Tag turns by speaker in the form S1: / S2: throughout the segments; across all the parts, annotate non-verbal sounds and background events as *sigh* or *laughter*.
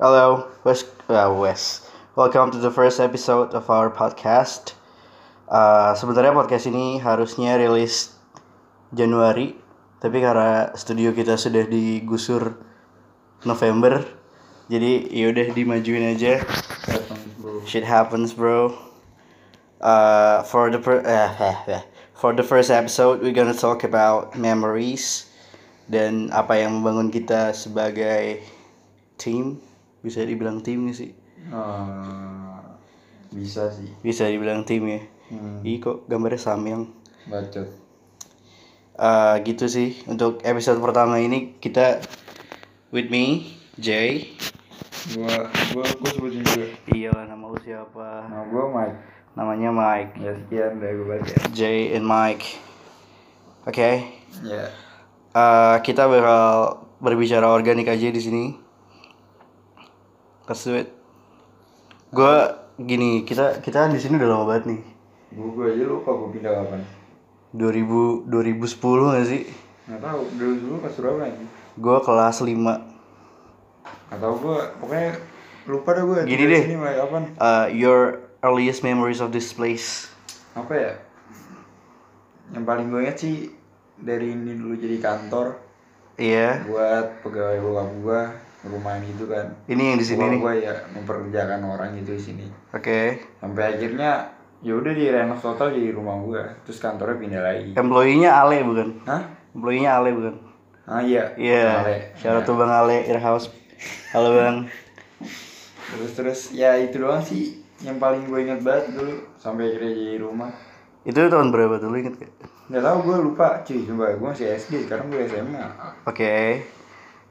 S1: Hello, Wes. Uh, Wes. Welcome to the first episode of our podcast. Uh, sebenarnya podcast ini harusnya rilis Januari, tapi karena studio kita sudah digusur November, jadi yaudah dimajuin aja. Shit happens, bro. Uh, for the per- uh, for the first episode, we're gonna talk about memories dan apa yang membangun kita sebagai team. Bisa dibilang tim nggak sih?
S2: Ah, bisa sih
S1: Bisa dibilang tim ya.
S2: Hmm.
S1: Ih kok gambarnya samyang.
S2: bacot
S1: Eh gitu sih untuk episode pertama ini kita with me Jay.
S2: gua gua gua sebutin dulu
S1: Iyalah nama lu siapa?
S2: nah gua Mike
S1: Namanya Mike.
S2: ya sekian udah gua baca
S1: Jay and Mike. Oke.
S2: ya
S1: Eh, kita bakal berbicara organik aja di sini. Let's do it. Gua gini, kita kita di sini udah lama banget nih.
S2: gua gua aja lupa gua pindah kapan
S1: 2000 2010 gak sih?
S2: nggak tahu dulu dulu ke Surabaya nih
S1: Gua kelas 5.
S2: nggak tahu gua pokoknya lupa dah gua
S1: Gini
S2: Dari
S1: deh.
S2: sini mulai kapan
S1: Eh, your earliest memories of this place.
S2: apa ya yang paling gua inget sih dari ini dulu jadi kantor
S1: Iya.
S2: buat pegawai bokap gua rumahan gitu kan
S1: Ini yang di sini
S2: Gua-
S1: nih. Oke.
S2: gua ya memperkerjakan orang gitu di sini sampai akhirnya ya udah di renov total jadi rumah gua terus kantornya pindah lagi
S1: Employee-nya Ale bukan?
S2: hah
S1: Employee-nya Ale bukan?
S2: ah iya
S1: Iya.
S2: Ale.
S1: Shout out to Bang Ale Irhouse. Halo Bang.
S2: terus terus ya itu doang sih yang paling gue inget banget dulu sampai akhirnya jadi rumah
S1: Itu tahun berapa dulu inget gak?
S2: nggak tahu gue lupa cuy coba gue masih SD sekarang gue SMA
S1: Oke.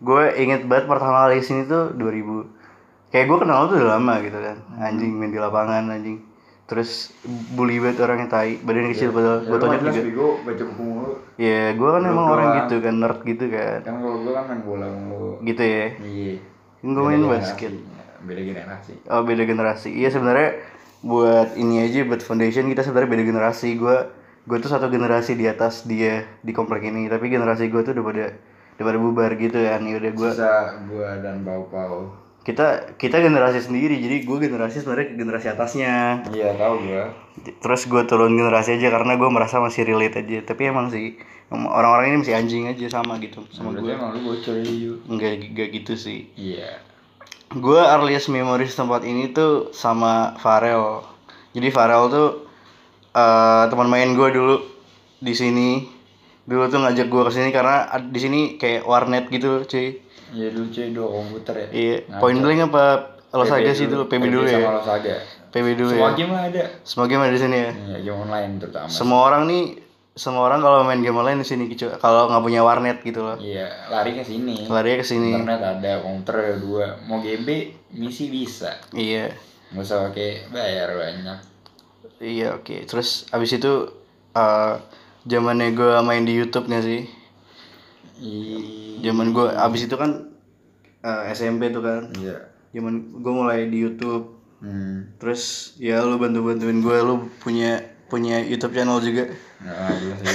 S1: Gue inget banget pertama kali sini tuh 2000. Kayak gue kenal lu tuh udah lama gitu kan. Anjing main di lapangan anjing. Terus bully banget orangnya tai. Badan kecil padahal gue
S2: ya, gue
S1: tonjok
S2: jelas
S1: juga.
S2: bego baca buku mulu
S1: Ya, gue kan emang orang
S2: doang.
S1: gitu kan, nerd gitu kan.
S2: kan kalau gue kan main bola mulu
S1: Gitu ya.
S2: iya
S1: Gue
S2: Beda
S1: main
S2: generasi.
S1: basket.
S2: Ya, beda generasi
S1: Oh, beda generasi. Iya sebenarnya buat ini aja buat foundation kita sebenarnya beda generasi. Gua gue tuh satu generasi di atas dia di komplek ini, tapi generasi gue tuh udah pada udah pada bubar gitu kan. Ya udah gua
S2: bisa gue dan bau pau
S1: kita kita generasi sendiri. Jadi gue generasi sebenarnya ke generasi atasnya.
S2: iya tahu gue
S1: Terus gue turun generasi aja karena gue merasa masih relate aja. Tapi emang sih em- orang-orang ini masih anjing aja sama gitu sama
S2: gue
S1: gue.
S2: emang lu bocor yuk
S1: Enggak enggak gitu sih.
S2: iya
S1: gue earliest memories tempat ini tuh sama Farel jadi Farel tuh eh teman main gue dulu di sini dulu tuh ngajak gue ke sini karena ad- di sini kayak warnet gitu cuy
S2: Iya dulu cuy dua komputer ya.
S1: iya point blank apa Los Saga sih
S2: gitu.
S1: dulu PB dulu ya
S2: Sama Losaga.
S1: PB dulu
S2: Semua
S1: ya
S2: game lah ada.
S1: semua game ada di sini ya
S2: Iya, game online terutama.
S1: semua orang nih semua orang kalau main game online di sini kecu- kalau nggak punya warnet gitu loh
S2: Iya, lari ke sini.
S1: larinya ke sini
S2: Internet ada, komputer ada dua. Mau GB, misi bisa.
S1: iya
S2: Nggak usah pakai bayar banyak.
S1: Iya oke. Terus abis itu eh zamannya gue main di YouTube nggak sih?
S2: I-
S1: Zaman gue abis itu kan eh, SMP tuh kan.
S2: Iya.
S1: Zaman gue mulai di YouTube.
S2: Hmm.
S1: Terus ya lu bantu bantuin gue, lu punya punya YouTube channel juga.
S2: Nggak jelas.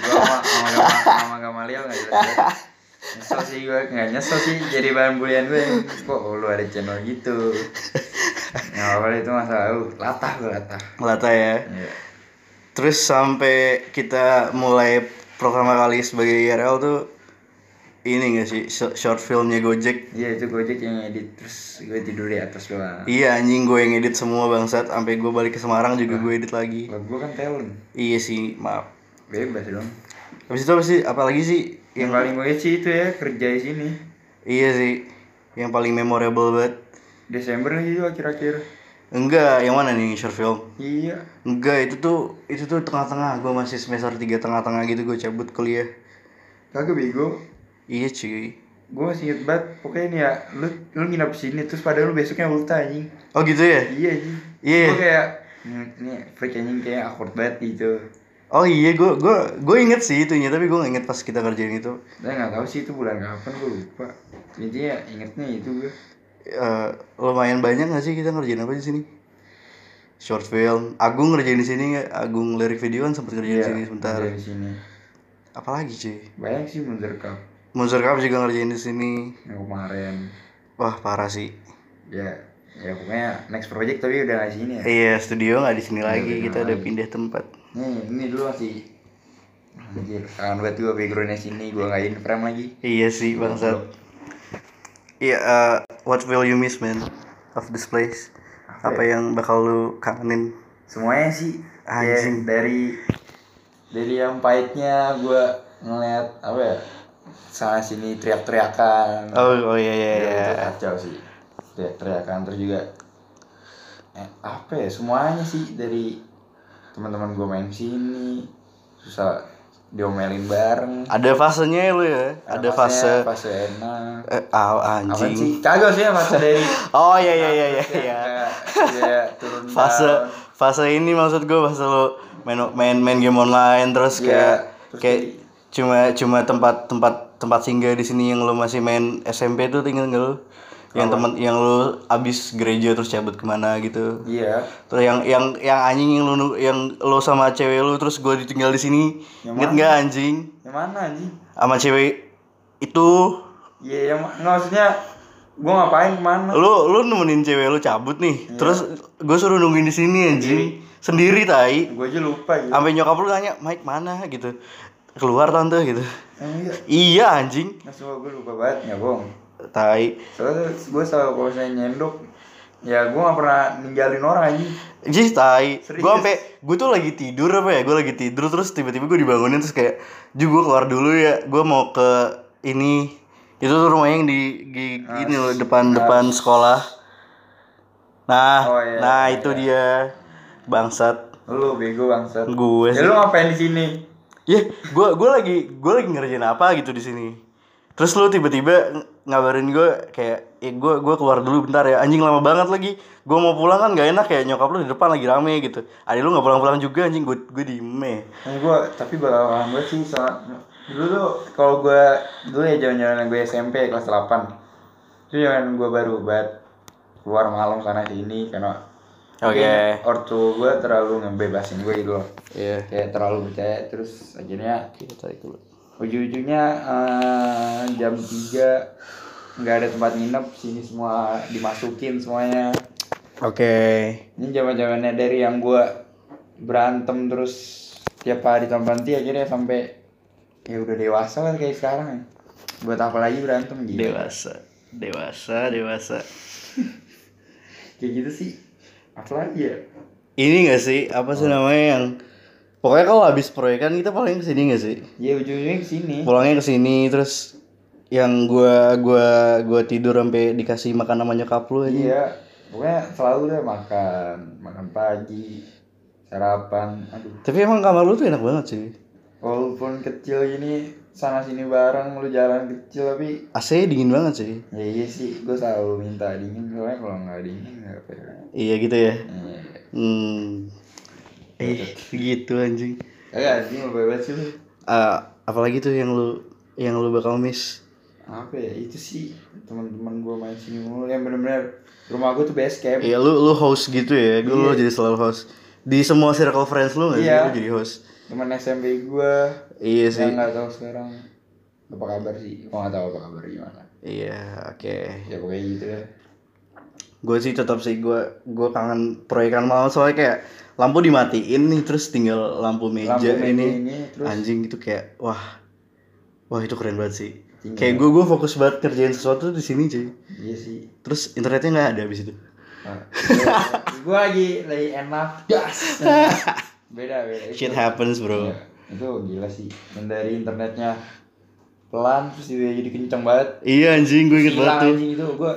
S2: Gue sama sama Gamal- sama Gamaliel nggak jelas. ya. Nyesel sih gue, nggak nyesel sih jadi bahan bulian gue Kok lu ada channel gitu Nggak apa-apa itu masalah lu, latah gue latah
S1: Melata ya.
S2: Iya.
S1: Terus sampai kita mulai pertama kali sebagai IRL tuh ini gak sih Sh- short filmnya Gojek
S2: Iya itu Gojek yang edit terus gue tidur di atas doang.
S1: Iya anjing gue yang edit semua bangsat Sampai gue balik ke Semarang juga gue edit lagi
S2: Kalau gue kan talent,
S1: Iya sih maaf
S2: bebas dong.
S1: Habis itu apa sih? Apalagi sih?
S2: Yang
S1: Yang
S2: paling gue inget sih itu ya kerja di sini.
S1: iya sih, yang paling memorable banget.
S2: Desember itu akhir-akhir.
S1: Enggak, yang mana nih short film?
S2: Iya.
S1: Enggak, itu tuh itu tuh tengah-tengah. Gua masih semester 3 tengah-tengah gitu gue cabut kuliah.
S2: Kagak bego.
S1: Iya cuy.
S2: Gue masih inget banget pokoknya ini ya lu lu nginap di sini terus padahal lu besoknya ulta anjing.
S1: Oh gitu ya?
S2: Iya anjing.
S1: Iya.
S2: Gue kayak "Hmm, ini freak anjing kayak awkward banget gitu.
S1: Oh iya, gue gua gua inget sih itunya, tapi gue gak inget pas kita kerjain itu.
S2: Tapi nggak tahu sih itu bulan kapan gue lupa. Jadi ya ingetnya itu gue.
S1: Eh, lumayan banyak gak sih kita ngerjain apa di sini? Short film. Agung ngerjain di sini nggak? Agung lirik video kan sempet ngerjain di sini sebentar.
S2: Iya, kerja Di sini.
S1: Apalagi cuy?
S2: Banyak sih mundur cup
S1: Monster Cup juga ngerjain di sini.
S2: yang kemarin.
S1: Wah parah sih.
S2: ya ya pokoknya next project tapi udah nggak di sini ya
S1: Iya studio nggak di sini lagi
S2: di sini
S1: kita udah
S2: lagi.
S1: pindah tempat.
S2: ini ini dulu masih anjir kangen banget gua backgroundnya sini gua nggak in frame lagi
S1: Iya sih bangsat. Iya eh, what will you miss man of this place? Apa ya? yang bakal lu kangenin?
S2: semuanya sih kayak
S1: Anjing.
S2: dari dari yang pahitnya gua ngeliat apa ya sana sini teriak-teriakan
S1: Oh oh iya iya.
S2: Ya,
S1: iya.
S2: itu kacau sih teriak-teriakan terus juga eh, apa ya semuanya sih dari teman-teman gue main sini susah diomelin bareng
S1: Ada fasenya ya lu ya. Ada fase.
S2: fasenya, fase enak
S1: Eh, ah,
S2: apa
S1: anjing.
S2: sih kagak sih ya fase dari
S1: Oh iya *laughs* iya iya iya. iya.
S2: Kayak- kayak turun
S1: Fase
S2: down.
S1: fase ini maksud gue fase lu main main main game online terus
S2: Iya,
S1: kayak
S2: terus
S1: kayak
S2: jadi-
S1: cuma cuma tempat tempat tempat singgah di sini yang lu masih main SMP tuh tinggal nggak lu? Yang teman yang lu abis gereja terus cabut kemana gitu.
S2: iya
S1: Terus yang yang yang anjing yang lu yang lu sama cewek lu terus gue ditinggal di sini.
S2: Yang
S1: Ingat nggak anjing?
S2: yang mana anjing
S1: Sama cewek itu
S2: iya yang ma- nggak, maksudnya gue ngapain kemana
S1: lu lu nemenin cewek lu cabut nih terus gue suruh nungguin di sini anjing sendiri tai
S2: gue aja lupa gitu
S1: sampai nyokap lu nanya Mike mana gitu keluar tante gitu
S2: emang iya
S1: iya anjing
S2: nah, semua gue lupa banget ya bohong
S1: tai
S2: soalnya gue selalu kalau saya nyendok ya gue gak pernah ninggalin orang aja
S1: Jis tai
S2: Serius?
S1: gue sampai gue tuh lagi tidur apa ya gue lagi tidur terus tiba-tiba gue dibangunin terus kayak Ju gue keluar dulu ya gue mau ke ini itu tuh rumahnya yang di, di
S2: Ah,
S1: ini loh depan-depan sekolah nah
S2: Oh, iya,
S1: nah
S2: iya,
S1: itu dia bangsat
S2: lu bego bangsat
S1: gue
S2: ya lu ngapain di sini
S1: Ya, gua gua lagi gua lagi ngerjain apa gitu di sini. Terus lu tiba-tiba ng- ngabarin gue kayak eh gua gua keluar dulu bentar ya. Anjing lama banget lagi. Gua mau pulang kan gak enak ya nyokap lu di depan lagi rame gitu. Adik lu gak pulang-pulang juga anjing gue gue di me.
S2: nah, gue tapi bakal paham banget sih soal dulu tuh kalau gue dulu ya jaman-jaman gue SMP kelas 8 itu jaman gue baru banget keluar malam sana sini karena
S1: Oke.
S2: mungkin ortu gue terlalu ngebebasin gue gitu loh
S1: Iya.
S2: kayak terlalu percaya terus akhirnya
S1: Oke, tarik dulu.
S2: ujung-ujungnya eh, jam 3 nggak ada tempat nginep sini semua dimasukin semuanya
S1: Oke.
S2: ini zaman zamannya dari yang gua berantem terus tiap hari tanpa henti akhirnya sampai ya udah dewasa lah kayak sekarang ya. buat apa lagi berantem gitu
S1: Dewasa. Dewasa, dewasa.
S2: kayak gitu sih apa lagi ya
S1: Ini gak sih apa sih namanya yang Pokoknya kalau habis proyekan kita paling kesini gak sih?
S2: ya ujung-ujungnya kesini
S1: Hmm? pulangnya ke sini terus yang gua gua gua tidur sampai dikasih makan sama nyokap lu aja.
S2: iya pokoknya selalu deh makan makan pagi sarapan aduh
S1: Tapi emang kamar lu tuh enak banget sih.
S2: walaupun kecil gini sana sini bareng lu jalan kecil tapi
S1: AC dingin banget sih.
S2: ya iya sih gue selalu minta dingin soalnya kalau nggak dingin nggak apa ya
S1: Iya gitu ya.
S2: Iya.
S1: Hmm. Eh, gitu anjing.
S2: kagak sih mau bebas sih lu.
S1: Ah, apalagi tuh yang lu yang lu bakal miss.
S2: apa ya itu sih teman-teman gue main sini mulu yang bener-bener rumah gue tuh base camp
S1: Iya, lu lu host gitu ya. Gua lu jadi selalu host. Di semua circle friends lu gak
S2: Iya.
S1: sih lu jadi host?
S2: teman SMP gue
S1: Iya sih.
S2: yang nggak tahu sekarang apa kabar sih gue nggak tahu apa kabar gimana
S1: Iya, oke.
S2: ya pokoknya gitu ya
S1: gue sih tetap sih gue gue kangen proyekan malam soalnya kayak lampu dimatiin nih terus tinggal lampu meja
S2: lampu meja
S1: ini,
S2: ini terus
S1: anjing itu kayak wah wah itu keren banget sih
S2: Tinggal. ya?
S1: kayak gue gue fokus banget kerjain sesuatu di sini cuy
S2: iya sih
S1: terus internetnya nggak ada abis itu
S2: gue lagi lagi enak gas *laughs* beda beda
S1: shit happens bro
S2: Iya, itu gila sih Dan dari internetnya pelan terus dia jadi kenceng banget
S1: iya anjing gue inget banget
S2: hilang
S1: tuh
S2: anjing itu gue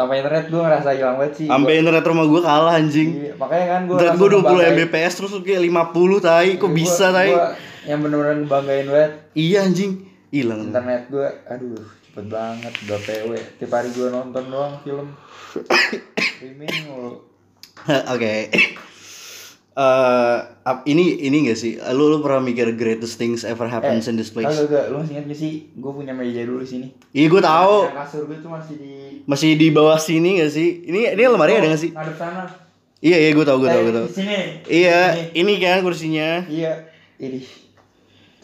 S2: tanpa internet gue ngerasa hilang banget sih
S1: sampai internet rumah gue kalah anjing
S2: Iya, makanya kan gue
S1: internet gue 20 mbps terus lu kayak 50 tai
S2: Iya,
S1: kok bisa tai
S2: yang bener-bener banggain banget
S1: iya anjing hilang
S2: internet gue aduh cepet banget udah pw tiap hari gue nonton doang film streaming mulu
S1: *laughs* Oke. Eh, ap- ini ini gak sih? Lu, lu pernah mikir greatest things ever happens in this place?
S2: Eh, Kagak gak, lu masih ingat gak sih? Gue punya meja dulu sini.
S1: Iya gue tahu.
S2: Yang kasur gue tuh masih di
S1: Masih di bawah sini gak sih? Ini ini lemari ada gak sih?
S2: Ngadep sana.
S1: Iya iya gue tahu gue tahu
S2: Eh,
S1: gue tahu.
S2: di Sini. Di
S1: Iya, ini kan kursinya.
S2: sini. Iya. Ini.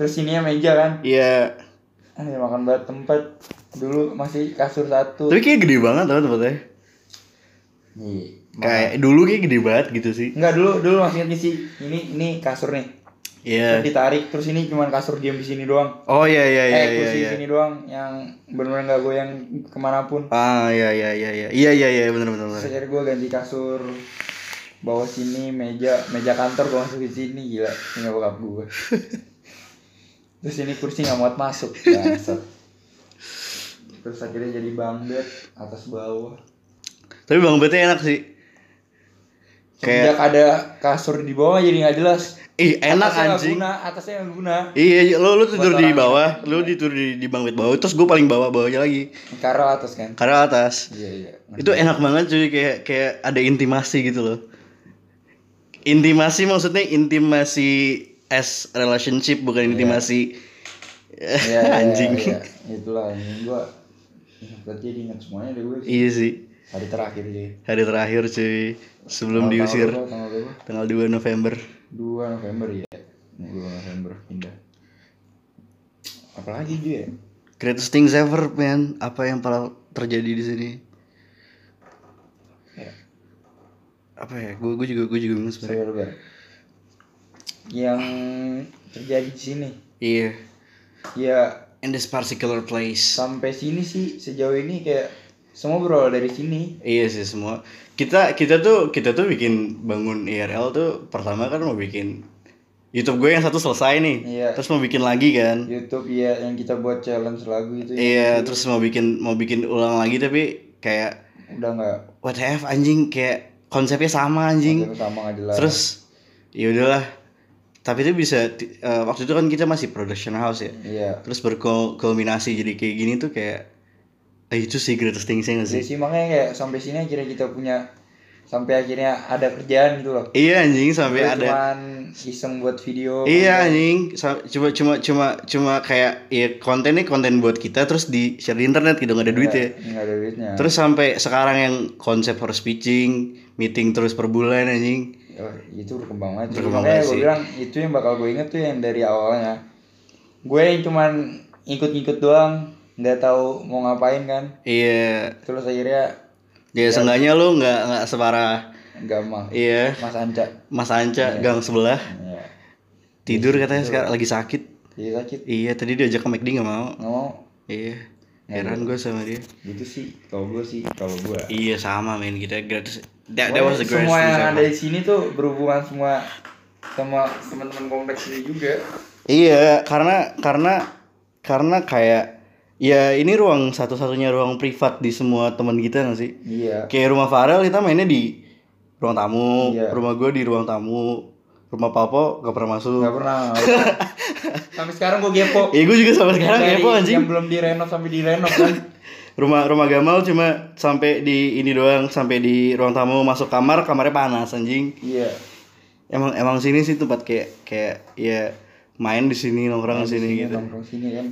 S2: Terus sini meja kan.
S1: Iya.
S2: Ah, ya makan banget tempat. dulu masih kasur satu
S1: Tapi kayak gede banget tau tempatnya.
S2: Iya.
S1: Kayak dulu kayak gede banget gitu sih.
S2: Enggak dulu dulu maksudnya nih sih ini ini kasur nih
S1: Iya.
S2: ditarik terus ini cuman kasur diam di sini doang
S1: Oh iya iya iya
S2: eh
S1: iya.
S2: kursi
S1: iya.
S2: di sini doang yang benar-benar nggak goyang kemanapun
S1: Ah iya iya iya iya. Iya iya iya benar benar. benar.
S2: Secara gue ganti kasur bawah sini meja meja kantor gue masuk di sini gila punya bokap gue
S1: *laughs*
S2: terus ini kursi nggak muat masuk bangsat. terus akhirnya jadi bang bed atas bawah
S1: Tapi Bang Betnya enak sih.
S2: sejak ada kasur di bawah jadi nggak jelas
S1: Ih, enak
S2: Atasnya nggak
S1: anjing.
S2: guna atasnya nggak guna
S1: Iya, iya, lo lo tidur
S2: Buat
S1: di
S2: orang
S1: bawah, lo tidur di di bangkit bawah, terus gue paling bawah bawahnya lagi,
S2: karel atas kan
S1: karena atas.
S2: iya
S1: *laughs*
S2: iya
S1: Itu enak banget cuy, kayak kayak ada intimasi gitu loh. Intimasi maksudnya intimasi as relationship bukan intimasi
S2: Iya, iya,
S1: anjing.
S2: iya. itulah anjing gue berarti dia ingat semuanya deh gue
S1: Iya sih,
S2: hari terakhir jadi
S1: hari terakhir cuy, sebelum
S2: Tanggal
S1: diusir
S2: berapa, tanggal berapa?
S1: tanggal 2 November.
S2: 2 November ya 2 November pindah apalagi dia ya?
S1: Greatest things ever, man. Apa yang pernah terjadi di sini?
S2: ya
S1: Apa ya? Gue gue juga gue juga bingung sebenarnya.
S2: sabar sabar. yang terjadi di sini
S1: Iya.
S2: ya
S1: In this particular place.
S2: sampai sini sih sejauh ini kayak semua berawal dari sini
S1: Iya sih semua. Kita kita tuh kita tuh bikin bangun IRL tuh pertama kan mau bikin YouTube gue yang satu selesai nih.
S2: Iya.
S1: Terus mau bikin lagi kan.
S2: YouTube ya yang kita buat challenge lagu itu ya,
S1: Iya, terus mau bikin mau bikin ulang lagi tapi kayak
S2: udah nggak
S1: what the F anjing kayak konsepnya sama anjing.
S2: konten sama nggak jelas
S1: Terus ya udahlah. Tapi itu bisa ti- eh, waktu itu kan kita masih production house ya.
S2: iya
S1: Terus berkulminasi jadi kayak gini tuh kayak eh, itu sih greatest things nya
S2: jadi
S1: Iya sih?
S2: Iya sih makanya kayak sampai sini akhirnya kita punya sampai akhirnya ada kerjaan gitu loh
S1: Iya anjing sampai
S2: Gue
S1: ada
S2: cuman iseng buat video
S1: Iya anjing, Sa- cuma cuma cuma cuma kayak ya kontennya konten buat kita terus di share di internet gitu nggak ada duit ya.
S2: nggak ada duitnya
S1: Terus sampai sekarang yang konsep harus pitching, meeting terus per bulan anjing.
S2: Oh, itu berkembang banget
S1: Berkembang banget
S2: makanya gue
S1: sih.
S2: bilang itu yang bakal gue inget tuh yang dari awalnya gue yang cuman ikut-ikut doang nggak tahu mau ngapain kan
S1: Iya.
S2: terus akhirnya
S1: Ya seenggaknya lu nggak nggak separah
S2: nggak mah
S1: iya
S2: mas Anca
S1: Mas Anca gang sebelah
S2: ya.
S1: tidur katanya sekarang lagi sakit.
S2: jadi sakit
S1: Iya, tadi diajak ke McD nggak mau.
S2: nggak mau
S1: Iya. Heran gue sama dia.
S2: gitu sih kalau gue sih kalau gue
S1: Iya sama men kita gratis. That, that was the greatest
S2: semua
S1: thing
S2: yang ada
S1: ever.
S2: di sini tuh berhubungan semua sama teman-teman kompleks ini juga
S1: Iya, karena karena karena kayak ya ini ruang satu-satunya ruang privat di semua teman kita nggak sih?
S2: iya
S1: Kayak rumah Farel kita mainnya di ruang tamu,
S2: Iya.
S1: rumah gue di ruang tamu, rumah Papo gak pernah masuk.
S2: nggak
S1: *laughs*
S2: pernah sampai sekarang gue gepo
S1: Ya gue juga sampai sekarang
S2: Dari
S1: kepo anjing.
S2: yang belum direnov sampai direnov kan
S1: Rumah rumah Gamal cuma sampai di ini doang, sampai di ruang tamu masuk kamar, kamarnya panas anjing.
S2: Iya.
S1: Emang emang sini sih tempat kayak kayak ya main di sini nongkrong di sini gitu.
S2: Nongkrong Iya, sini kan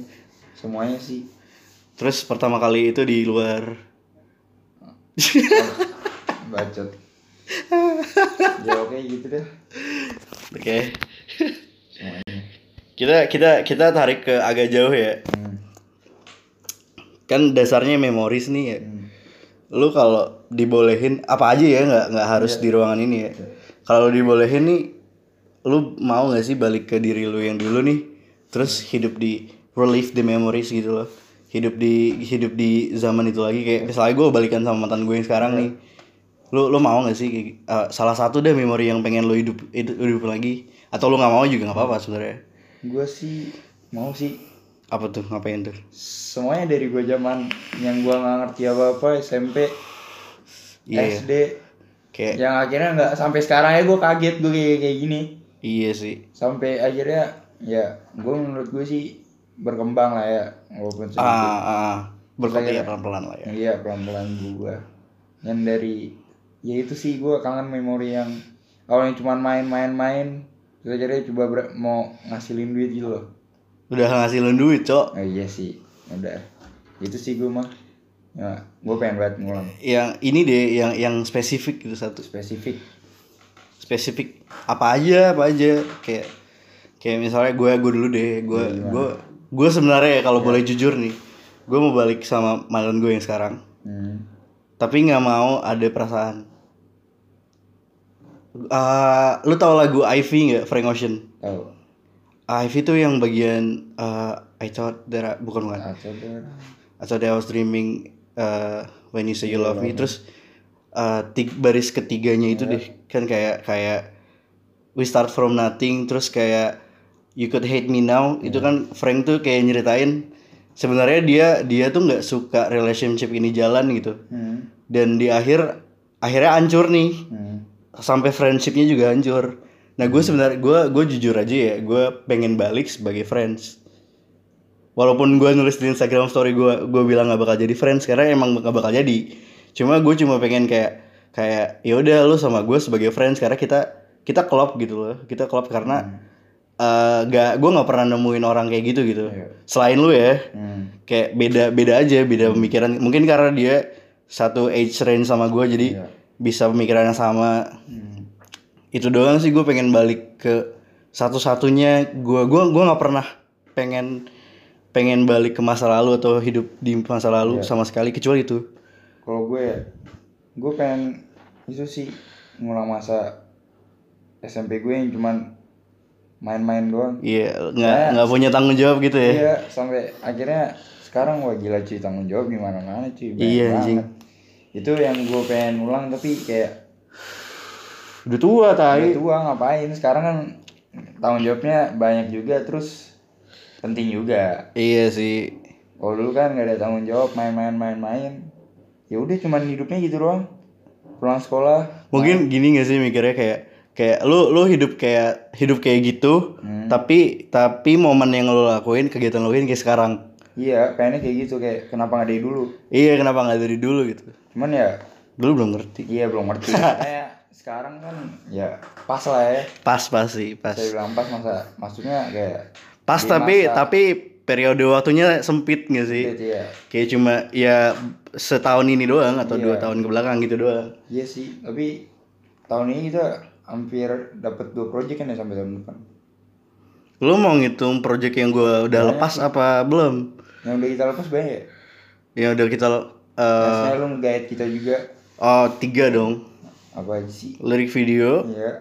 S2: semuanya sih.
S1: Terus pertama kali itu di luar
S2: Bacot.
S1: *laughs*
S2: ya oke gitu deh.
S1: Oke. *laughs* kita kita kita tarik ke agak jauh ya.
S2: Hmm.
S1: Kan dasarnya memoris nih ya. Lu kalau dibolehin apa aja ya nggak nggak harus di ruangan ini ya. Kalau dibolehin nih lu mau nggak sih balik ke diri lu yang dulu nih? Terus hidup di relive the memories gitu loh. Hidup di hidup di zaman itu lagi kayak misalnya gue balikan sama mantan gue yang sekarang nih. Lu lu mau nggak sih kayak gi- eh, salah satu deh memori yang pengen lu hidup hidup, hidup lagi atau lu nggak mau juga nggak apa-apa sebenarnya.
S2: Gue sih mau sih
S1: Apa tuh ngapain tuh?
S2: semuanya dari gue zaman yang gue nggak ngerti apa apa SMP,
S1: Iya.
S2: SD.
S1: Kayak
S2: Yang akhirnya nggak sampai sekarang ya gue kaget gue kayak, kayak gini.
S1: iya sih.
S2: Sampai akhirnya ya gue menurut gue sih berkembang lah ya walaupun sedikit.
S1: Ah, ah. berkembang ya pelan-pelan lah ya.
S2: Iya pelan-pelan gua Yang dari Ya itu sih gua kangen memori yang Awalnya cuman main-main-main Terus akhirnya coba ber- mau ngasilin duit gitu loh
S1: Udah ngasilin duit, Cok.
S2: Oh iya sih Udah Itu sih gua mah ya, Gue pengen banget ngulang
S1: yang ini deh yang yang spesifik gitu satu
S2: Spesifik
S1: spesifik apa aja apa aja kayak kayak misalnya gue gue dulu deh gue gue gue sebenarnya ya kalau boleh jujur nih gue mau balik sama mantan gue yang sekarang
S2: Hmm.
S1: tapi nggak mau ada perasaan Ah, lu tau lagu Ivy nggak Frank Ocean
S2: Oh,
S1: Ivy tuh yang bagian eh, I thought that I- bukan bukan
S2: atau tuh.
S1: I thought that I was dreaming eh, when you say you love me terus eh, tig- baris ketiganya itu deh kan kayak kayak we start from nothing terus kayak you could hate me now itu kan Frank tuh kayak nyeritain sebenarnya dia dia tuh nggak suka relationship ini jalan gitu
S2: Hmm.
S1: dan di akhir akhirnya hancur nih
S2: Hmm.
S1: sampai friendshipnya juga hancur nah gue sebenarnya gue gue jujur aja ya gue pengen balik sebagai friends walaupun gue nulis di Instagram story gue gue bilang gak bakal jadi friends karena emang gak bakal jadi cuma gue cuma pengen kayak kayak ya udah lu sama gue sebagai friends karena kita kita klop gitu loh kita klop karena eh, gak gue nggak pernah nemuin orang kayak gitu gitu
S2: Hmm. Iya.
S1: selain lu ya
S2: Hmm.
S1: kayak beda beda aja beda pemikiran mungkin karena dia satu age range sama gue jadi
S2: Iya.
S1: bisa pemikiran yang sama
S2: Hmm.
S1: itu doang sih gue pengen balik ke satu satunya gue gua gua nggak pernah pengen pengen balik ke masa lalu atau hidup di masa lalu sama sekali kecuali itu
S2: Kalau gue ya, gue pengen itu sih ngulang masa SMP gue yang cuman main-main doang.
S1: iya nggak nggak punya tanggung jawab gitu ya
S2: Iya, sampai akhirnya sekarang wah gila cuy tanggung jawab gimana mana cuy. banyak
S1: Iya,
S2: banget.
S1: anjing.
S2: Itu yang gue pengen ulang tapi kayak
S1: udah tua
S2: udah
S1: tai
S2: tua ngapain sekarang kan tanggung jawabnya banyak juga terus penting juga.
S1: iya sih
S2: Kalau dulu kan nggak ada tanggung jawab main-main main-main. Ya udah cuman hidupnya gitu doang. Pulang sekolah.
S1: mungkin gini gak sih mikirnya kayak kayak lu lu hidup kayak hidup kayak gitu tapi tapi momen yang lu lakuin kegiatan lu lakuin kayak sekarang
S2: Iya, pengennya kayak gitu kayak kenapa nggak dari dulu?
S1: Iya kenapa nggak dari dulu gitu
S2: Cuman ya
S1: Dulu belum ngerti
S2: iya belum ngerti. *laughs* Kayak sekarang kan ya pas lah ya.
S1: Pas pas sih pas
S2: Saya bilang pas masa maksudnya kayak
S1: Pas
S2: Di
S1: tapi
S2: masa-
S1: tapi periode waktunya sempit nggak sih
S2: Iya, iya.
S1: Kayak cuma ya setahun ini doang atau dua tahun ke belakang gitu doang
S2: Iya sih, tapi tahun ini kita hampir dapat dua project kan ya sampai tahun depan.
S1: Lu mau ngitung project yang gua
S2: Iya.
S1: udah lepas apa belum?
S2: Yang udah kita lepas banyak ya?
S1: Ya udah kita eh
S2: Biasanya lu nge-guide kita juga
S1: Oh tiga dong
S2: apa aja sih?
S1: Lirik video
S2: Iya,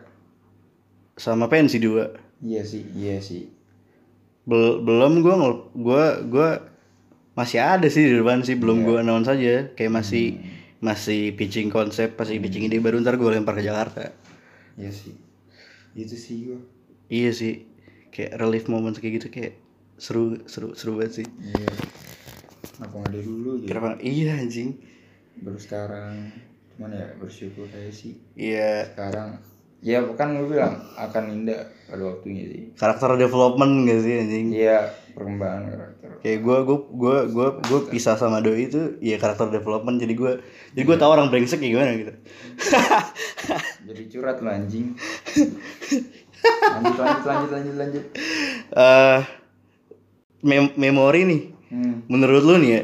S1: sama pensi dua
S2: iya sih, iya sih.
S1: Bel- belum gua ngel- gua gua masih ada sih di depan sih
S2: Iya.
S1: belum gua announce aja kayak masih
S2: Hmm.
S1: masih pitching konsep masih pitching ide baru ntar gua lempar ke Jakarta
S2: Iya sih. Itu sih gua.
S1: iya sih kayak relief moment kayak gitu kayak seru seru seru banget sih
S2: Iya. Kenapa nggak dari dulu gitu?
S1: kenapa iya anjing
S2: Baru sekarang. Cuman ya bersyukur saya sih.
S1: iya
S2: Sekarang ya bukan gue bilang akan indah pada waktunya sih.
S1: karakter development gak sih anjing
S2: Iya, perkembangan karakter.
S1: kayak gue gue gue gue gue pisah sama doi itu ya karakter development jadi gue jadi gue tahu orang brengsek kayak gimana gitu
S2: Jadi curhat lu anjing. lanjut lanjut lanjut lanjut lanjut.
S1: eh mem- memori nih
S2: Hmm.
S1: menurut lu nih ya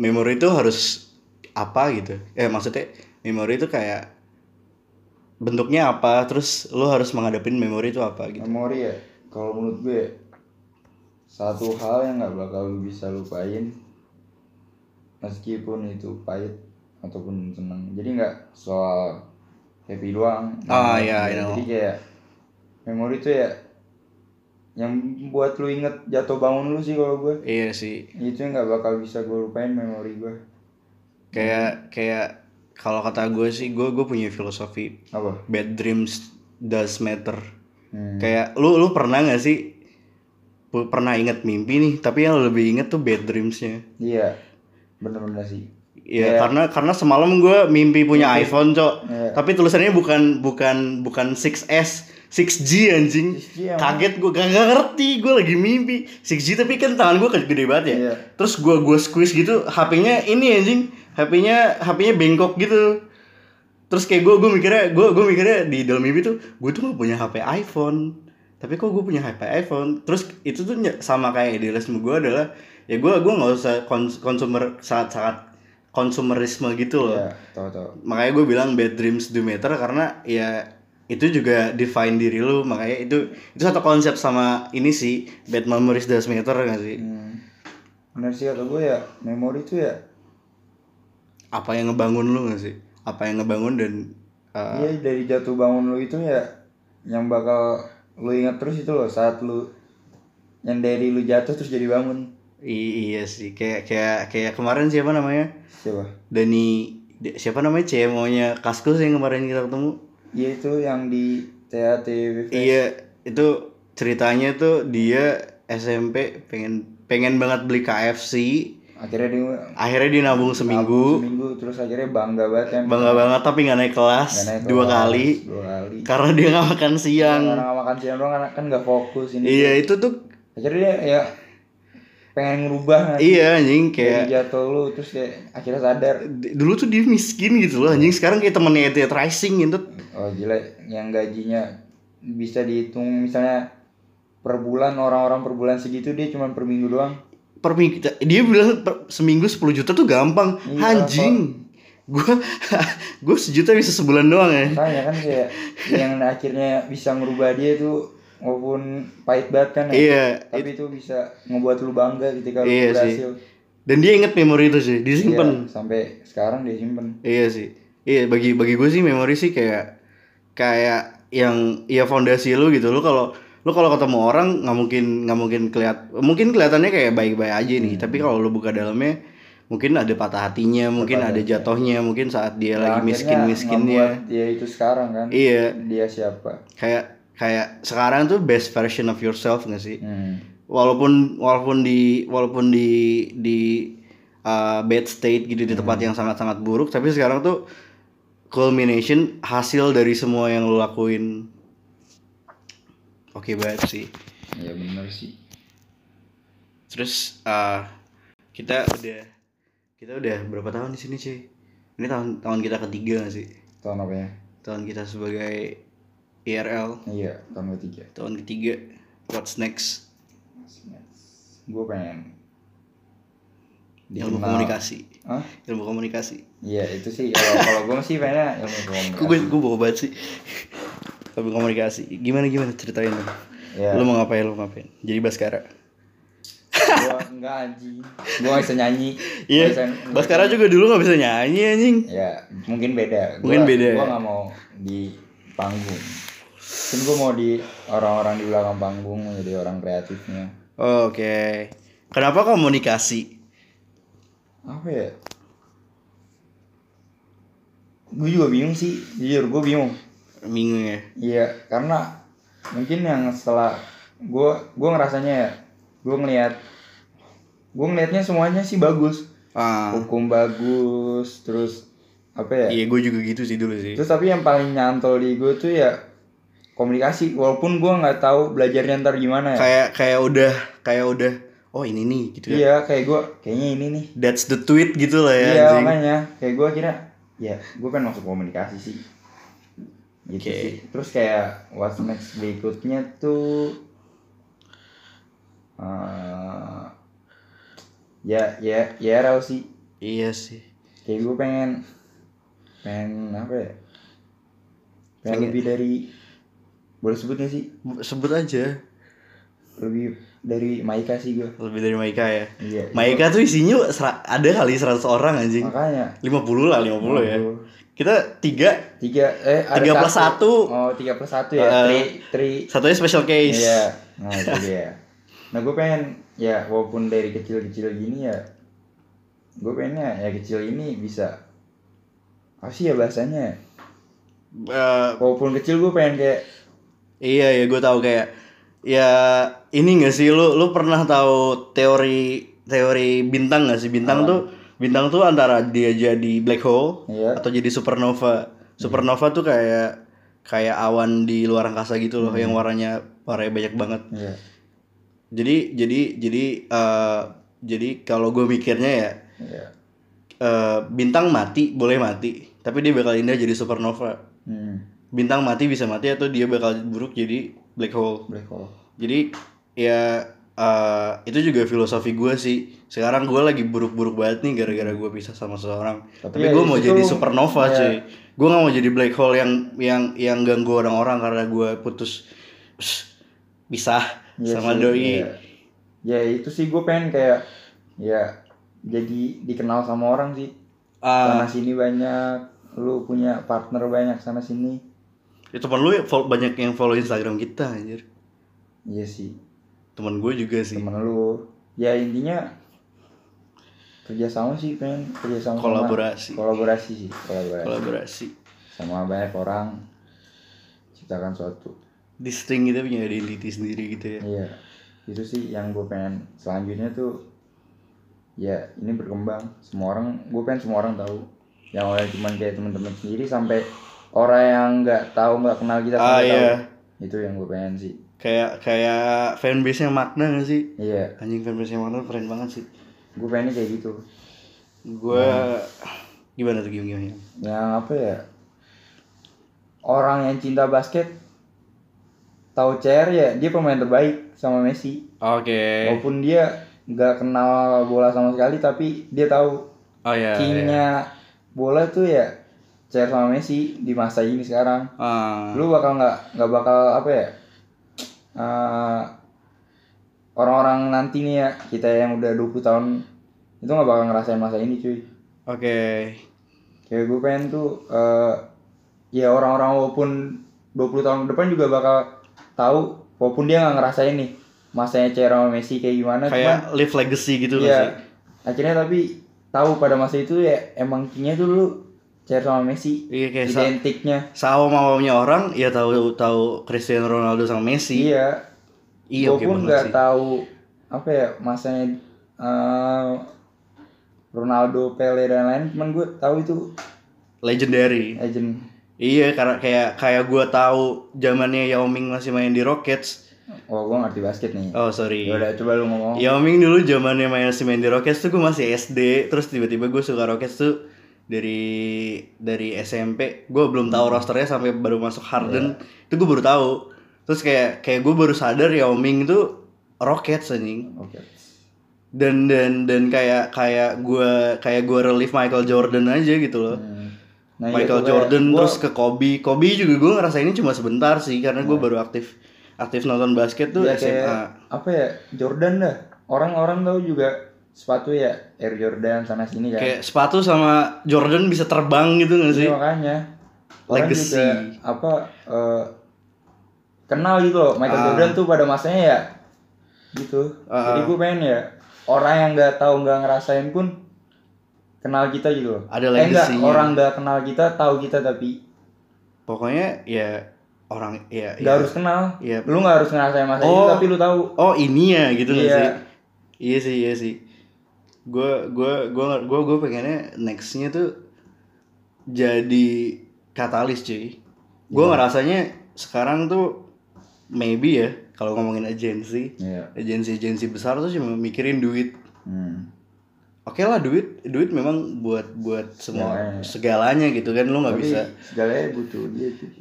S1: memori itu harus apa gitu eh maksudnya memori itu kayak bentuknya apa terus lu harus menghadapin memori itu apa gitu
S2: Memori ya, kalau menurut gue satu hal yang nggak bakal lu bisa lupain meskipun itu pahit ataupun senang. Jadi nggak soal happy doang.
S1: Ah, iya, I know.
S2: Jadi kayak memori itu ya yang buat lu inget jatuh bangun lu sih kalau gue
S1: iya sih
S2: itu yang nggak bakal bisa gue lupain memori gue
S1: kayak kayak kalau kata gue sih gue gue punya filosofi
S2: apa
S1: bad dreams does matter
S2: Hmm.
S1: kayak lu lu pernah nggak sih pu- pernah inget mimpi nih tapi yang lu lebih inget tuh bad dreamsnya
S2: iya bener-bener sih
S1: Iya, karena karena semalam gue mimpi punya iPhone, Cok.
S2: Iya.
S1: Tapi tulisannya bukan bukan bukan 6S, 6G anjing.
S2: 6G Iya, emang.
S1: Kaget gue gak, gak ngerti, gue lagi mimpi 6G tapi kan tangan gue gede banget ya.
S2: Iya.
S1: Terus gue gua squeeze gitu, HP-nya ini anjing, HP-nya HP-nya bengkok gitu. Terus kayak gue gue mikirnya gue gue mikirnya di dalam mimpi tuh gue tuh gak punya HP iPhone. Tapi kok gue punya HP iPhone. Terus itu tuh ny- sama kayak idealisme gue adalah ya gue gua nggak usah kons- consumer sangat sangat konsumerisme gitu loh
S2: ya tau tau
S1: makanya gue bilang bad dreams do matter karena ya itu juga define diri lu makanya itu itu satu konsep sama ini sih bad memories does matter nggak sih
S2: Hmm. bener sih kata gue ya memori itu ya
S1: apa yang ngebangun lu gak sih apa yang ngebangun dan uh,
S2: Iya dari jatuh bangun lu itu ya yang bakal lu ingat terus itu loh saat lu yang dari lu jatuh terus jadi bangun.
S1: i- iya sih kayak kayak kayak kemarin siapa namanya
S2: Siapa?
S1: Dani di- siapa namanya CMO nya Kaskus yang kemarin kita ketemu
S2: Iya itu yang di TAT
S1: iya itu ceritanya tuh dia SMP pengen pengen banget beli KFC
S2: Akhirnya dia
S1: akhirnya dia nabung seminggu
S2: seminggu terus akhirnya bangga banget kan.
S1: bangga banget tapi nggak naik kelas
S2: Nggak naik
S1: dua
S2: kelas,
S1: kali
S2: Dua kali.
S1: karena dia nggak makan siang
S2: Karena nggak makan siang doang karena kan nggak fokus ini.
S1: iya itu tuh
S2: Akhirnya dia ya pengen ngerubah kan.
S1: iya anjing
S2: Dari
S1: kayak
S2: jatuh lu terus kayak akhirnya sadar.
S1: d- dulu tuh dia miskin gitu loh anjing sekarang kayak temennya Elliot Rising gitu
S2: Oh gila, yang gajinya bisa dihitung misalnya per bulan orang-orang per bulan segitu dia cuma per minggu doang.
S1: per ming- dia bilang per- seminggu 10 juta tuh gampang
S2: Iya,
S1: anjing gua *laughs* gua sejuta bisa sebulan doang ya
S2: Makanya kan
S1: *laughs*
S2: kayak yang akhirnya bisa ngerubah dia tuh walaupun pahit banget kan ya.
S1: iya
S2: Tapi itu bisa ngebuat lu bangga ketika lu
S1: Iya sih.
S2: berhasil.
S1: dan dia inget memori itu sih disimpan
S2: Iya, sampai sekarang dia simpen.
S1: Iya sih. Iya bagi bagi gue sih memori sih kayak kayak yang ya fondasi lu gitu. Lu kalau lu kalau ketemu orang nggak mungkin nggak mungkin keliat mungkin kelihatannya kayak baik-baik aja nih. Tapi kalau lu buka dalamnya mungkin ada patah hatinya, mungkin ada jatuhnya, mungkin saat dia lagi
S2: Akhirnya
S1: miskin-miskinnya.
S2: ngebuat dia itu sekarang kan.
S1: Iya,
S2: Dia siapa?
S1: kayak kayak sekarang tuh best version of yourself gak sih?
S2: Hmm.
S1: walaupun walaupun di walaupun di di uh, bad state gitu di tempat yang sangat sangat buruk tapi sekarang tuh culmination hasil dari semua yang lo lakuin oke banget sih
S2: Ya bener sih.
S1: terus uh, kita udah kita udah berapa tahun di sini cuy ini tahun tahun kita ketiga gak sih
S2: Tahun apa ya?
S1: tahun kita sebagai IRL
S2: Iya, tahun ketiga.
S1: tahun ketiga what's next
S2: Gue pengen
S1: ilmu
S2: Dikenal.
S1: komunikasi
S2: Hah?
S1: ilmu komunikasi
S2: Iya itu sih kalau kalau gue sih pengennya ilmu
S1: gue
S2: komunikasi.
S1: gue bawa banget sih tapi komunikasi gimana gimana ceritain dong
S2: Ya,
S1: lu mau ngapain lu mau ngapain jadi baskara
S2: gue enggak anjing. Gue gak bisa nyanyi.
S1: iya
S2: Gak bisa-
S1: baskara juga dulu nggak bisa nyanyi anjing
S2: Ya mungkin beda.
S1: Mungkin beda
S2: Gue
S1: ya.
S2: gak mau di panggung. Mungkin gue mau di orang-orang di belakang panggung jadi orang kreatifnya.
S1: oke kenapa komunikasi
S2: Apa ya? Gue juga bingung sih. Jujur gue bingung.
S1: bingung ya
S2: Iya, karena mungkin yang setelah gue gue ngerasanya ya, gue ngelihat gue ngelihatnya semuanya sih bagus,
S1: ah
S2: hukum bagus, terus apa ya?
S1: iya gue juga gitu sih dulu sih
S2: Terus tapi yang paling nyantol di gue tuh ya komunikasi, walaupun gue nggak tahu belajarnya ntar gimana ya.
S1: kayak kayak udah kayak udah oh ini nih gitu ya
S2: Iya, kayak gue kayaknya ini nih.
S1: that's the tweet gitu lah ya
S2: iya
S1: anjing
S2: makanya kayak gue kira ya gue pengen masuk komunikasi sih gitu
S1: Oke.
S2: sih terus kayak what's next berikutnya tuh eh, ya ya ya Rao sih
S1: iya sih
S2: kayak gue pengen pengen apa ya pengen lebih dari boleh sebut gak sih
S1: sebut aja
S2: lebih dari Maika sih gue
S1: lebih dari Maika ya
S2: iya
S1: Maika tuh isinya sera- ada kali 100 orang anjing
S2: makanya
S1: 50 lah 50 ya kita tiga
S2: tiga eh ada
S1: Tiga plus satu.
S2: oh tiga plus satu
S1: Eh,
S2: ya tri tri
S1: satunya special case
S2: Iya, nah itu dia. Nah gue pengen ya walaupun dari kecil-kecil gini ya, gue pengennya ya kecil ini bisa apa sih ya bahasanya?
S1: Eh,
S2: Walaupun kecil gue pengen kayak
S1: iya ya gue tahu kayak ya ini gak sih lu lu pernah tahu teori teori bintang gak sih bintang tuh bintang tuh antara dia jadi black hole
S2: Iya.
S1: atau jadi supernova supernova tuh kayak kayak awan di luar angkasa gitu loh
S2: Hmm.
S1: yang warnanya warnanya banyak banget
S2: ya
S1: jadi jadi jadi eh, jadi kalau gue mikirnya ya
S2: ya
S1: eh, bintang mati boleh mati tapi dia bakal indah jadi supernova
S2: hmm,
S1: bintang mati bisa mati atau dia bakal buruk jadi black hole.
S2: black hole.
S1: Jadi ya eh, itu juga filosofi gue sih. Sekarang gue lagi buruk-buruk banget nih gara-gara gue pisah sama seseorang.
S2: Tapi
S1: Tapi,
S2: ya
S1: gue mau
S2: itu
S1: jadi
S2: tuh,
S1: supernova
S2: ya.
S1: cuy. Gue gak mau jadi black hole yang yang yang ganggu orang-orang karena gue putus pisah
S2: Iya
S1: sama
S2: sih,
S1: doi.
S2: iya. Ya itu sih gue pengen kayak ya jadi dikenal sama orang sih
S1: Ah,
S2: sana sini banyak lu punya partner banyak sana sini
S1: ya teman lu ya fol- banyak yang follow Instagram kita anjir.
S2: iya sih
S1: Teman gue juga sih.
S2: temen lu ya intinya kerjasama sih pengen kerjasama sama-
S1: Kolaborasi.
S2: kolaborasi sih kolaborasi
S1: Kolaborasi.
S2: sama banyak orang ciptakan suatu
S1: Distinct kita punya identity sendiri gitu ya.
S2: iya itu sih yang gue pengen selanjutnya tuh ya ini berkembang semua orang gue pengen semua orang tahu yang oleh cuman kayak teman-teman sendiri sampai orang yang nggak tahu nggak kenal kita
S1: Ah,
S2: sampai
S1: iya.
S2: tahu itu yang gue pengen sih
S1: Kayak kayak fanbase-nya makna gak sih?
S2: iya
S1: Anjing fanbase-nya makna keren banget sih.
S2: gue pengennya kayak gitu
S1: Gue Hmm. gimana tuh gimana? gimana?
S2: yang apa ya orang yang cinta basket tahu CR ya dia pemain terbaik sama Messi
S1: Oke.
S2: walaupun dia nggak kenal bola sama sekali tapi dia tahu
S1: Oh ya. ya.
S2: kingnya bola tuh ya CR sama Messi di masa ini sekarang
S1: Ah,
S2: lu bakal nggak nggak bakal apa ya eh, orang-orang nanti nih ya kita yang udah 20 tahun itu nggak bakal ngerasain masa ini cuy
S1: Oke.
S2: kayak gue pengen tuh eh, ya orang-orang walaupun 20 tahun ke depan juga bakal tahu walaupun dia nggak ngerasain nih masanya Cero sama Messi kayak gimana
S1: Kayak live legacy gitu
S2: cuman
S1: loh
S2: ya
S1: sih.
S2: akhirnya tapi tahu pada masa itu ya emang kingnya tuh dulu Cero sama Messi
S1: Iya kayak sa-
S2: identiknya
S1: sama maunya orang ya tahu tahu Cristiano Ronaldo sama Messi.
S2: iya
S1: Iya oke
S2: walaupun
S1: banget
S2: nggak
S1: sih.
S2: tahu apa ya masanya eh, Ronaldo, Pele dan lain, cuman gue tahu itu
S1: Legendary.
S2: legend.
S1: Iya karena kayak kayak gua tahu zamannya Yao Ming masih main di Rockets.
S2: Oh, gue ngerti basket nih.
S1: Oh sorry.
S2: Yaudah, coba lu ngomong.
S1: Yao Ya, Ming dulu zamannya main masih main di Rockets tuh gua masih SD. Terus tiba-tiba gue suka Rockets tuh dari dari SMP. Gue belum tahu
S2: Hmm.
S1: rosternya sampai baru masuk
S2: Iya.
S1: Harden. Itu gue baru tahu. Terus kayak kayak gue baru sadar Yao Ming tuh Rockets anjing.
S2: Oke.
S1: Dan dan dan kayak kayak gua kayak gua relief Michael Jordan aja gitu loh.
S2: Hmm. Nah, iya
S1: Michael
S2: tuh kayak
S1: Jordan
S2: gua-
S1: terus ke Kobe. Kobe juga gue ngerasainnya cuma sebentar sih karena gue baru aktif aktif nonton basket tuh
S2: ya
S1: SMA.
S2: Nah. kayak apa ya Jordan dah orang-orang tahu juga sepatu ya Air Jordan sana sini kan
S1: Kayak sepatu sama Jordan bisa terbang gitu gak sih?
S2: Iya, makanya orang
S1: Legacy.
S2: juga apa eh, kenal gitu loh Michael
S1: Ah.
S2: Jordan tuh pada masanya ya gitu
S1: Ah.
S2: jadi gue pengen ya orang yang nggak tahu nggak ngerasain pun kenal kita gitu loh
S1: Ada
S2: eh enggak
S1: legacy-nya.
S2: orang nggak kenal kita tahu kita tapi
S1: Pokoknya ya orang ya,
S2: nggak
S1: ya.
S2: harus kenal
S1: Iya.
S2: lu nggak harus ngerasain masa itu
S1: Oh.
S2: tapi lu tahu
S1: Oh ini ya gitu nggak
S2: Iya.
S1: sih? Iya sih iya sih. Gue gue gue gue gue pengennya nextnya tuh jadi katalis cuy.
S2: Iya.
S1: Gue ngerasanya sekarang tuh maybe ya kalau ngomongin agensi
S2: Iya.
S1: agensi-agensi besar tuh cuma mikirin duit.
S2: Hmm.
S1: Oke lah duit, duit memang buat buat semua
S2: Ya.
S1: segalanya gitu kan lu nggak
S2: Tapi
S1: bisa.
S2: segalanya butuh dia
S1: *laughs*
S2: tuh.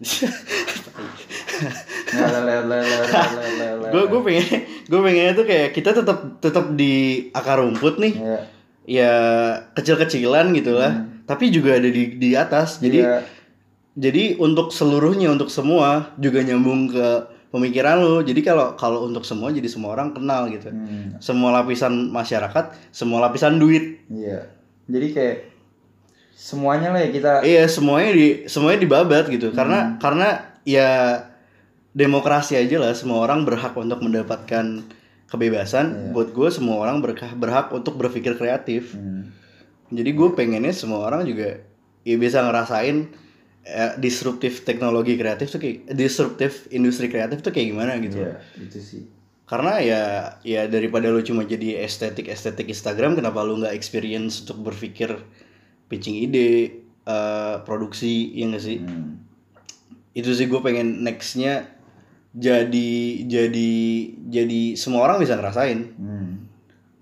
S2: Nggak, lele, lele, lele, lele.
S1: Gue gue pengen *laughs* gue pengennya tuh kayak kita tetap tetap di akar rumput nih,
S2: Iya.
S1: ya kecil-kecilan gitulah. Tapi juga ada di di atas. Jadi
S2: Hmm. Iya.
S1: jadi untuk seluruhnya untuk semua juga nyambung ke pemikiran lu. Jadi kalau kalau untuk semua jadi semua orang kenal gitu.
S2: Hmm,
S1: Semua lapisan masyarakat, semua lapisan duit.
S2: iya. Jadi kayak semuanya lah ya kita
S1: Iya semuanya di semuanya dibabat gitu karena karena ya demokrasi aja lah semua orang berhak untuk mendapatkan kebebasan. Buat gue semua orang berkah berhak untuk berpikir kreatif.
S2: Hmm,
S1: Jadi gue pengennya semua orang juga ya bisa ngerasain eh, disruptif teknologi kreatif tuh kayak disruptif industri kreatif tuh kayak gimana gitu.
S2: iya, itu sih.
S1: Karena ya ya daripada lu cuma jadi estetik estetik Instagram, kenapa lu nggak experience untuk berpikir pitching ide, eh, produksi, ya nggak sih?
S2: Hmm.
S1: Itu sih gue pengen nextnya jadi jadi jadi semua orang bisa ngerasain.
S2: Hmm.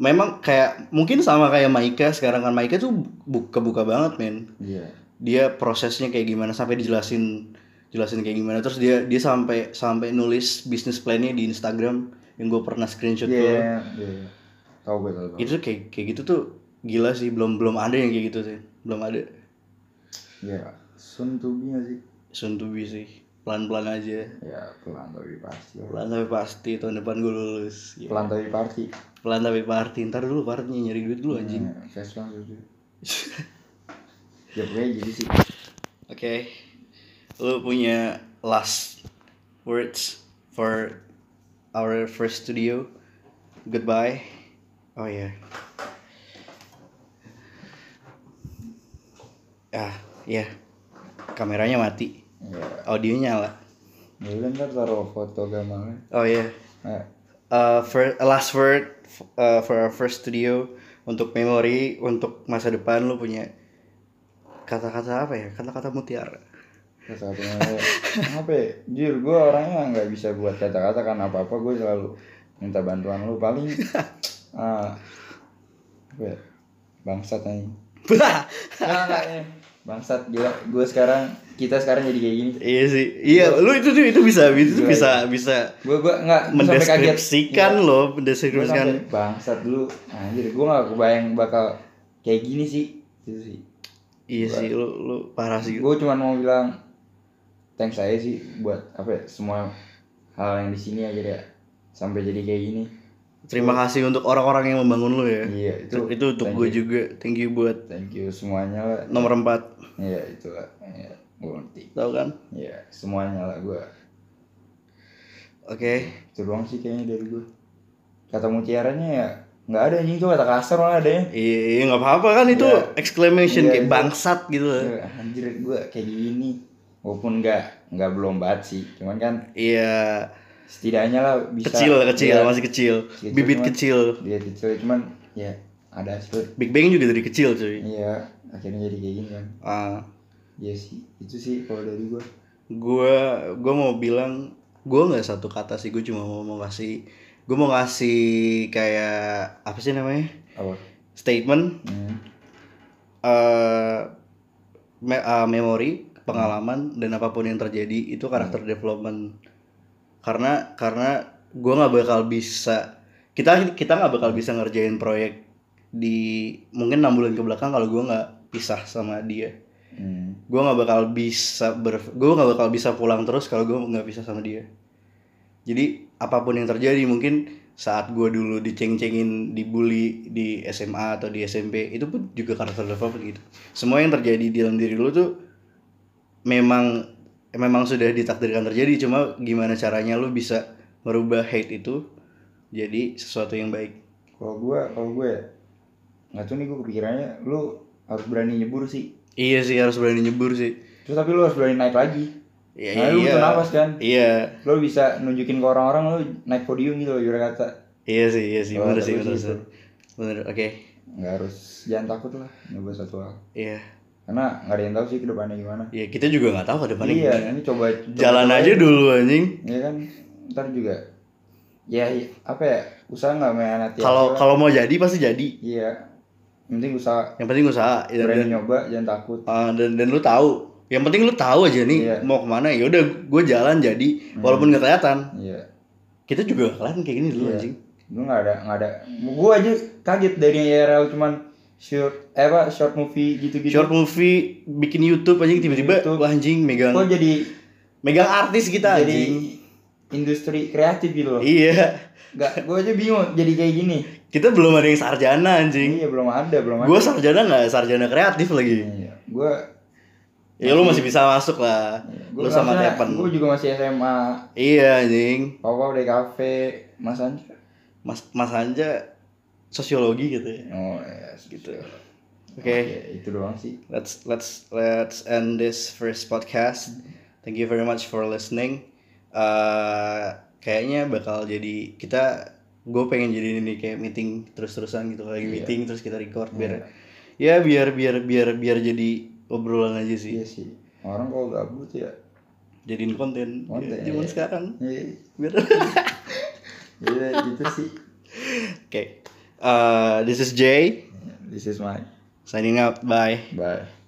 S1: Memang kayak mungkin sama kayak Maika sekarang kan Maika tuh bu- kebuka banget men.
S2: Iya.
S1: Dia prosesnya kayak gimana sampai dijelasin jelasin kayak gimana terus dia dia sampai sampai nulis bisnis plannya di Instagram yang gue pernah screenshot
S2: Iya,
S1: dulu.
S2: iya, iya. Tahu gue tahu. tahu.
S1: itu tuh kayak kayak gitu tuh gila sih belum belum ada yang kayak gitu sih belum ada
S2: Iya. Sun to be nggak sih?
S1: soon to be sih pelan-pelan aja
S2: ya pelan tapi pasti
S1: pelan tapi pasti tahun depan gue lulus Gila.
S2: pelan tapi pasti
S1: pelan tapi party ntar dulu party nyari duit dulu anjing
S2: Ya, saya suka
S1: *laughs*
S2: gitu ya pokoknya jadi sih
S1: Hmm. oke lu punya last words for our first studio goodbye oh ya ah ya kameranya mati
S2: ya
S1: audionya nyala
S2: ya udah ntar taruh foto gambarnya
S1: oh ya
S2: eh,
S1: uh, fir- last word f- uh, for our first studio untuk memori untuk masa depan lu punya kata-kata apa ya kata-kata mutiara
S2: kata apa ya jujur gue orangnya nggak bisa buat kata-kata karena apa apa gue selalu minta bantuan lu paling ah apa ya bangsat aja Nggak, nggak, ini. ya. bangsat gila gue sekarang kita sekarang jadi kayak gini
S1: iya sih iya lu itu tuh itu bisa itu tuh
S2: Gua-
S1: bisa bisa
S2: gue gue nggak gua Iya, sampai kaget.
S1: mendeskripsikan
S2: Iya.
S1: loh
S2: Gua sampai
S1: mendeskripsikan
S2: bangsat dulu anjir gue nggak kebayang bakal kayak gini sih itu sih
S1: iya sih lu lu parah sih
S2: gue cuma mau bilang thanks saya sih buat apa ya, semua hal yang di sini akhirnya sampai jadi kayak gini
S1: terima kasih untuk orang-orang yang membangun lu ya
S2: iya itu
S1: itu, itu untuk
S2: thank
S1: gue
S2: you.
S1: juga thank you buat
S2: thank you semuanya lah
S1: nomor 4
S2: iya itu lah iya gue ngerti
S1: tau kan
S2: iya semuanya lah gue
S1: oke
S2: itu doang sih kayaknya dari gue kata mutiaranya ya nggak ada anjing itu kata kasar malah ya. adanya
S1: iya iya, nggak apa-apa kan itu
S2: Iya.
S1: exclamation
S2: Iya,
S1: kayak
S2: itu.
S1: bangsat gitu loh
S2: Ya, anjir gue kayak gini walaupun nggak nggak belum banget sih cuman kan
S1: Iya,
S2: setidaknya lah bisa
S1: kecil kecil
S2: ya,
S1: masih kecil,
S2: Gitu,
S1: bibit
S2: cuman-
S1: kecil.
S2: dia kecil cuman ya ada hasil
S1: Big Bang juga dari kecil cuy.
S2: iya akhirnya jadi kayak gini kan
S1: Ah,
S2: ya sih itu sih kalau dari gue
S1: gua gua mau bilang gua nggak satu kata sih, gua cuma mau mau ngasih gua mau ngasih kayak apa sih namanya?
S2: apa
S1: statement
S2: hmm.
S1: eh me- eh, memori, pengalaman dan apapun yang terjadi itu karakter development. Karena karena gua nggak bakal bisa kita kita nggak bakal bisa ngerjain proyek di mungkin enam bulan ke belakang kalau gua nggak pisah sama dia.
S2: Hmm.
S1: Gua nggak bakal bisa ber gua nggak bakal bisa pulang terus kalau gua nggak pisah sama dia. Jadi apapun yang terjadi mungkin saat gua dulu diceng-cengin, dibully di SMA atau di SMP itu pun juga karakter development gitu. Semua yang terjadi di dalam diri lu tuh memang memang sudah ditakdirkan terjadi cuma gimana caranya lu bisa merubah hate itu jadi sesuatu yang baik.
S2: kalau gue kalau gue ya, nggak tuh nih gue kepikirannya lu harus berani nyebur sih
S1: Iya sih harus berani nyebur sih.
S2: terus tapi lu harus berani naik lagi
S1: Iya
S2: nah, lu
S1: iya.
S2: butuh nafas kan
S1: Iya.
S2: lu bisa nunjukin ke orang-orang lu naik podium gitu loh ibarat kata
S1: Iya sih, iya sih,
S2: Kalau
S1: bener
S2: kata
S1: sih,
S2: gue
S1: bener
S2: sih
S1: sih.
S2: itu.
S1: Bener, oke.
S2: nggak harus jangan takut lah nyoba satu hal
S1: Iya.
S2: karena nggak ada yang tahu sih kedepannya gimana
S1: Iya, kita juga nggak tahu ke depannya
S2: iya
S1: gimana.
S2: ini coba, coba
S1: Jalan
S2: coba
S1: aja dulu anjing.
S2: ya kan ntar juga ya i- apa ya usaha nggak main hati
S1: Kalau
S2: aja lah.
S1: kalau mau jadi pasti jadi.
S2: iya Yang penting usaha
S1: Yang penting usaha ya, dan Iya, dan,
S2: berani nyoba jangan takut
S1: ah, dan, dan lu tahu. Yang penting lu tahu aja nih
S2: Iya. Hmm.
S1: mau kemana. Ya udah, gue jalan jadi walaupun nggak kelihatan.
S2: iya
S1: Kita juga nggak kelihatan kayak gini dulu
S2: Iya.
S1: anjing.
S2: lu nggak ada nggak ada gua aja kaget dari IRL cuman short eh apa short movie gitu-gitu
S1: Short movie, bikin YouTube anjing tiba-tiba
S2: YouTube.
S1: wah anjing megang
S2: kok jadi
S1: megang artis kita
S2: jadi
S1: anjing.
S2: industri kreatif gitu loh
S1: Iya.
S2: nggak gua aja bingung jadi kayak gini
S1: Kita belum ada yang sarjana anjing.
S2: iya belum ada belum ada
S1: Gue sarjana nggak sarjana kreatif lagi.
S2: iya gua iya,
S1: Ya lu masih bisa masuk lah. lu sama Tepen.
S2: gua juga masih SMA
S1: Iya anjing.
S2: Papa udah kafe Mas Anja
S1: Mas Mas Anja sosiologi gitu ya.
S2: Oh ya
S1: Gitu.
S2: gitu.
S1: Oke,
S2: itu doang sih.
S1: let's let's let's end this first podcast. Thank you very much for listening. Uh, kayaknya bakal jadi kita gue pengen jadi ini kayak meeting terus-terusan gitu lagi
S2: Iya.
S1: meeting terus kita record
S2: Iya.
S1: biar ya biar biar biar biar jadi obrolan aja sih
S2: Iya sih. Orang kalau gabut ya.
S1: jadiin konten,
S2: Konten,
S1: Ya, zaman
S2: iya.
S1: sekarang
S2: Iya,
S1: biar *laughs*
S2: iya, *laughs* gitu sih.
S1: Oke. Uh, this is Jay
S2: This is my
S1: signing out. Bye.
S2: bye.